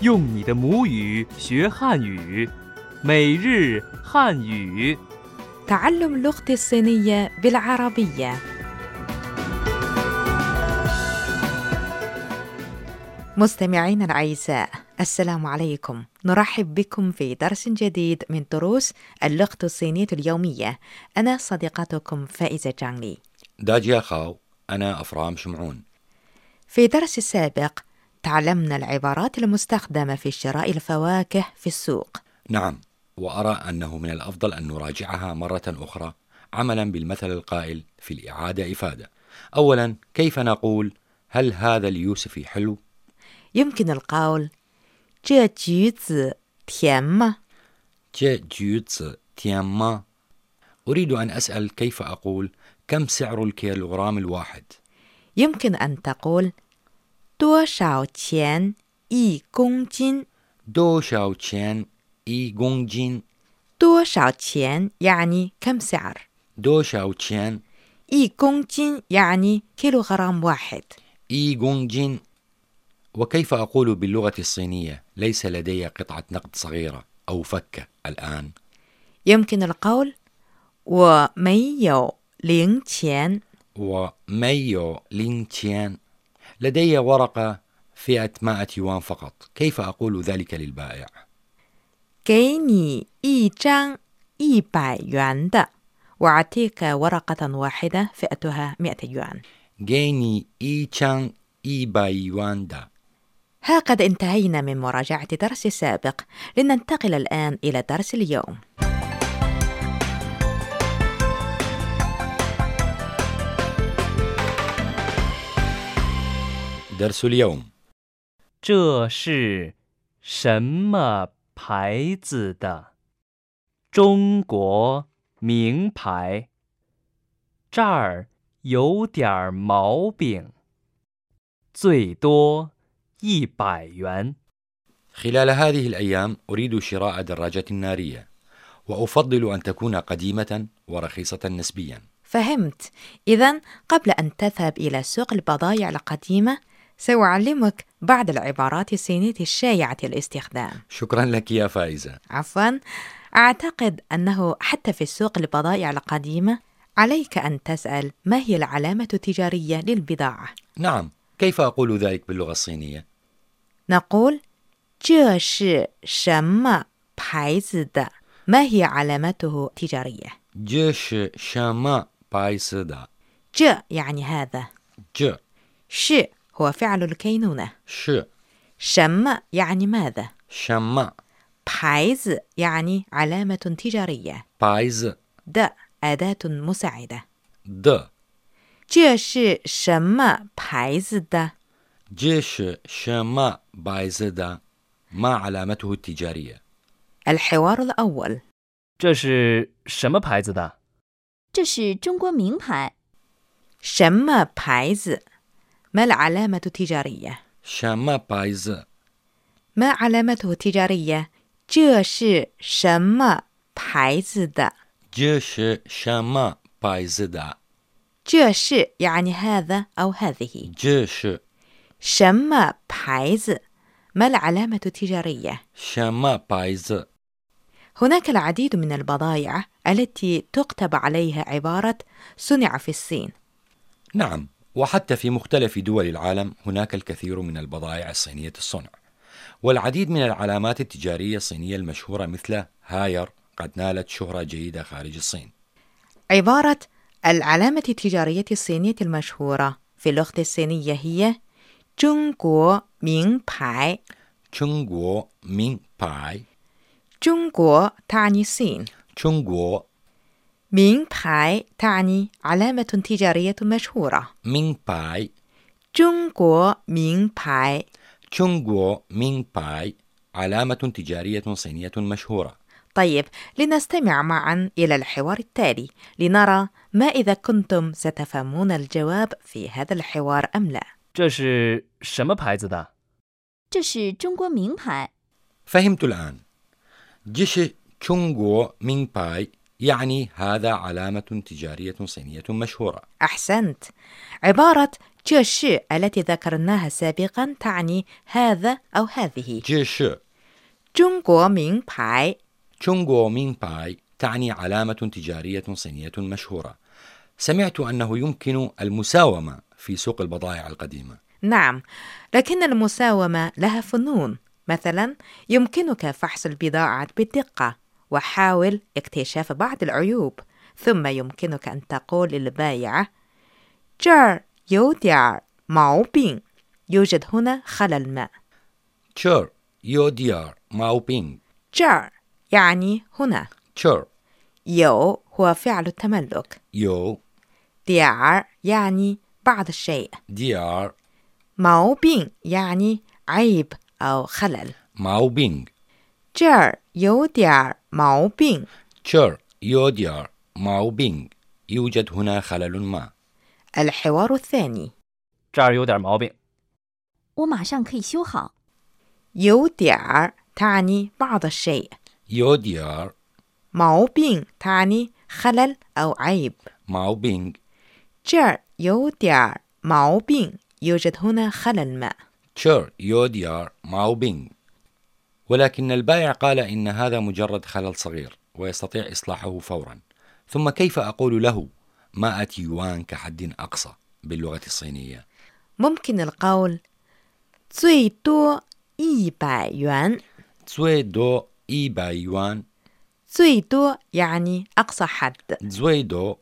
用你的母语学汉语，每日汉语。 تعلم لغتي الصينية بالعربية مستمعينا الأعزاء السلام عليكم نرحب بكم في درس جديد من دروس اللغة الصينية اليومية أنا صديقتكم فائزة جانلي داجيا خاو أنا أفرام شمعون في درس السابق تعلمنا العبارات المستخدمة في شراء الفواكه في السوق نعم وأرى أنه من الأفضل أن نراجعها مرة أخرى عملا بالمثل القائل في الإعادة إفادة أولا كيف نقول هل هذا اليوسفي حلو؟ يمكن القول 这橘子甜吗? جي جيوتس تياما أريد أن أسأل كيف أقول كم سعر الكيلوغرام الواحد؟ يمكن أن تقول 多少钱一公斤? دو شاو تشين إي غونج جين 多少钱 يعني كم سعر دو شاو تشين 一公斤 يعني كيلوغرام واحد إي غونج جين وكيف أقول باللغة الصينية ليس لدي قطعة نقد صغيرة أو فكة الآن؟ يمكن القول 我没有零钱 وميو لين تشيان لدي ورقة فئة 100 يوان فقط كيف أقول ذلك للبائع؟ 给你一张一百元的 وأعطيك ورقة واحدة فئتها 100 يوان جيني إي تشان إي باي يوان دا هكذا انتهينا من مراجعة درس سابق لننتقل الآن إلى درس اليوم درس اليوم 这是什么牌子的？中国名牌。这儿有点儿毛病，最多一百元。 خلال هذه الأيام أريد شراء دراجة نارية وأفضل أن تكون قديمة ورخيصة نسبيا فهمت إذا قبل أن تذهب إلى سوق البضائع القديمة سأعلمك بعض العبارات الصينية الشائعة الاستخدام شكرا لك يا فائزة عفوا أعتقد أنه حتى في سوق البضائع القديمة عليك أن تسأل ما هي العلامة التجارية للبضاعة نعم كيف أقول ذلك باللغة الصينية؟ نقول 这是什么牌子的 ما هي علامته التجارية جش شاما بايسدا 这 يعني هذا ج 是 هو فعل الكينونة ش 什么 يعني ماذا شاما 牌子 يعني علامة تجارية بايز د أداة مساعدة د 这是什么牌子的 جش شاما بايزدا ما علامته التجارية الحوار الأول 这是什么牌子的？这是中国名牌，什么牌子 ما العلامة التجارية شاما بايز ما علامته التجارية 这是什么牌子的 جش شاما بايزدا 这是 يعني هذا أو هذه جش 什么牌子 ما العلامة التجارية شاما بايز هناك العديد من البضائع التي تكتب عليها عبارة صنع في الصين نعم وحتى في مختلف دول العالم هناك الكثير من البضائع الصينية الصنع والعديد من العلامات التجارية الصينية المشهورة مثل هاير قد نالت شهرة جيدة خارج الصين عبارة العلامة التجارية الصينية المشهورة في اللغة الصينية هي 中国名牌 تشونغو مين باي 中国 تعني الصين تشونغو 名牌 تعني علامة تجارية مشهورة مين باي 中国名牌 تشونغو مين باي علامة تجارية صينية مشهورة طيب لنستمع معا إلى الحوار التالي لنرى ما إذا كنتم ستفهمون الجواب في هذا الحوار أم لا 这是什么牌子的？这是中国名牌， فهمت الآن جيش تشونغو مين باي يعني هذا علامة تجارية صينية مشهورة أحسنت عبارة جوشي التي ذكرناها سابقا تعني هذا أو هذه 这是 جونغو مين باي تشونغو مين باي تعني علامة تجارية صينية مشهورة سمعت أنه يمكن المساومة في سوق البضائع القديمة نعم لكن المساومة لها فنون مثلا يمكنك فحص البضاعة بدقة وحاول اكتشاف بعض العيوب ثم يمكنك أن تقول للبائع جار يوديار بين يوجد هنا خلل ما تشير يو ديار ماو بينغ جار يعني هنا تشير يو هو فعل التملك يو ديار يعني بعض الشيء ديار بين يعني عيب أو خلل ماو بينغ 这儿有点儿毛病。 تشير يو ديار ماو بينغ يوجد هنا خلل ما الحوار الثاني 这儿有点毛病，我马上可以修好。有点儿 تعني بعض الشيء يو ديار 毛病 تعني خلل أو عيب ماو بينغ 这儿有点儿毛病 يوجد هنا خلل ما تشير يو ديار ماو بينغ ولكن البائع قال إن هذا مجرد خلل صغير ويستطيع إصلاحه فورا ثم كيف أقول له مائة يوان كحد أقصى باللغة الصينية ممكن القول 最多一百元 زوي دو إيبا يوان 最多 يعني أقصى حد زوي دو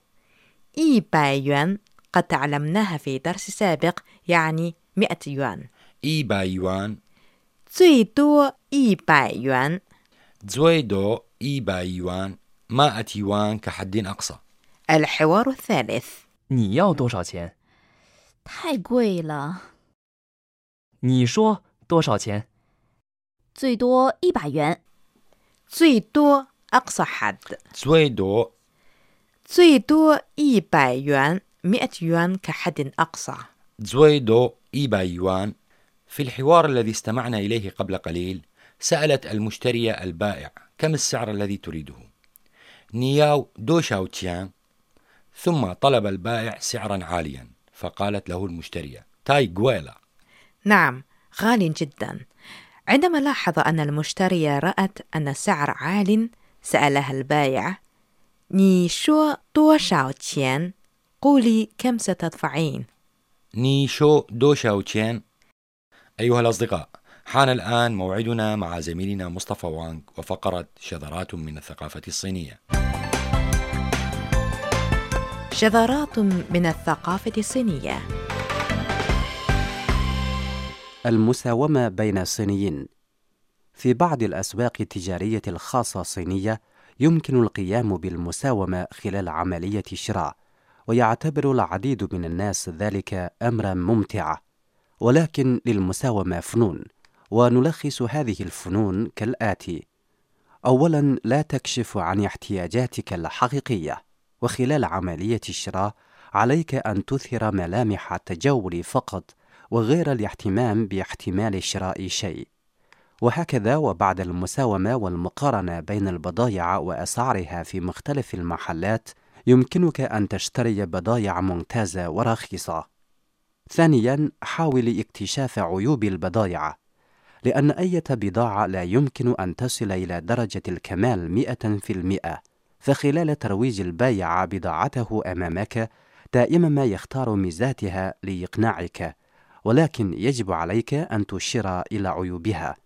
一百元 قد تعلمناها في درس سابق يعني 100 يوان إيبا يوان 最多一百元 زوي دو إيبا يوان مائة يوان كحد أقصى الحوار الثالث 你要多少钱？嗯太贵了，你说多少钱？最多一百元，最多 أقصى حد زوي دو 最多一百元 مئة يوان كحد أقصى زوي دو إيبا يوان في الحوار الذي استمعنا إليه قبل قليل سألت المشترية البائع كم السعر الذي تريده نياو دو شاو تيان ثم طلب البائع سعرا عاليا فقالت له المشترية تاي جويلا نعم غال جدا عندما لاحظ أن المشترية رأت أن السعر عال سألها البائع 你说多少钱 قولي كم ستدفعين ني شو دو شاو تيان أيها الأصدقاء حان الآن موعدنا مع زميلنا مصطفى وانغ وفقرة شذرات من الثقافة الصينية شذرات من الثقافة الصينية المساومة بين الصينيين في بعض الأسواق التجارية الخاصة الصينية يمكن القيام بالمساومة خلال عملية الشراء ويعتبر العديد من الناس ذلك أمرا ممتعا ولكن للمساومة فنون ونلخص هذه الفنون كالآتي أولا لا تكشف عن احتياجاتك الحقيقية وخلال عملية الشراء عليك أن تثير ملامح التجول فقط وغير الاهتمام باحتمال شراء شيء وهكذا وبعد المساومه والمقارنه بين البضائع واسعارها في مختلف المحلات يمكنك ان تشتري بضائع ممتازه ورخيصه ثانيا حاول اكتشاف عيوب البضائع لان اي بضاعه لا يمكن ان تصل الى درجه الكمال 100% فخلال ترويج البائع بضاعته امامك دائما ما يختار ميزاتها ليقنعك ولكن يجب عليك أن تشير إلى عيوبها.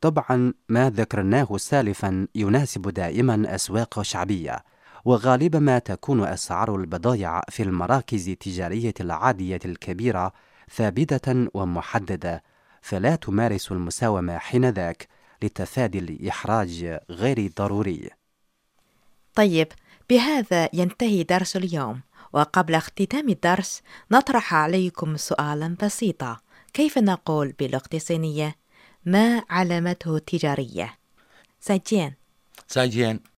طبعا ما ذكرناه سالفا يناسب دائما أسواق شعبية، وغالبا ما تكون أسعار البضائع في المراكز التجارية العادية الكبيرة ثابتة ومحددة، فلا تمارس المساومة حينذاك لتفادي الإحراج غير ضروري. طيب بهذا ينتهي درس اليوم وقبل اختتام الدرس نطرح عليكم سؤالا بسيطا كيف نقول باللغة الصينية ما علامته التجارية؟ 再见再见。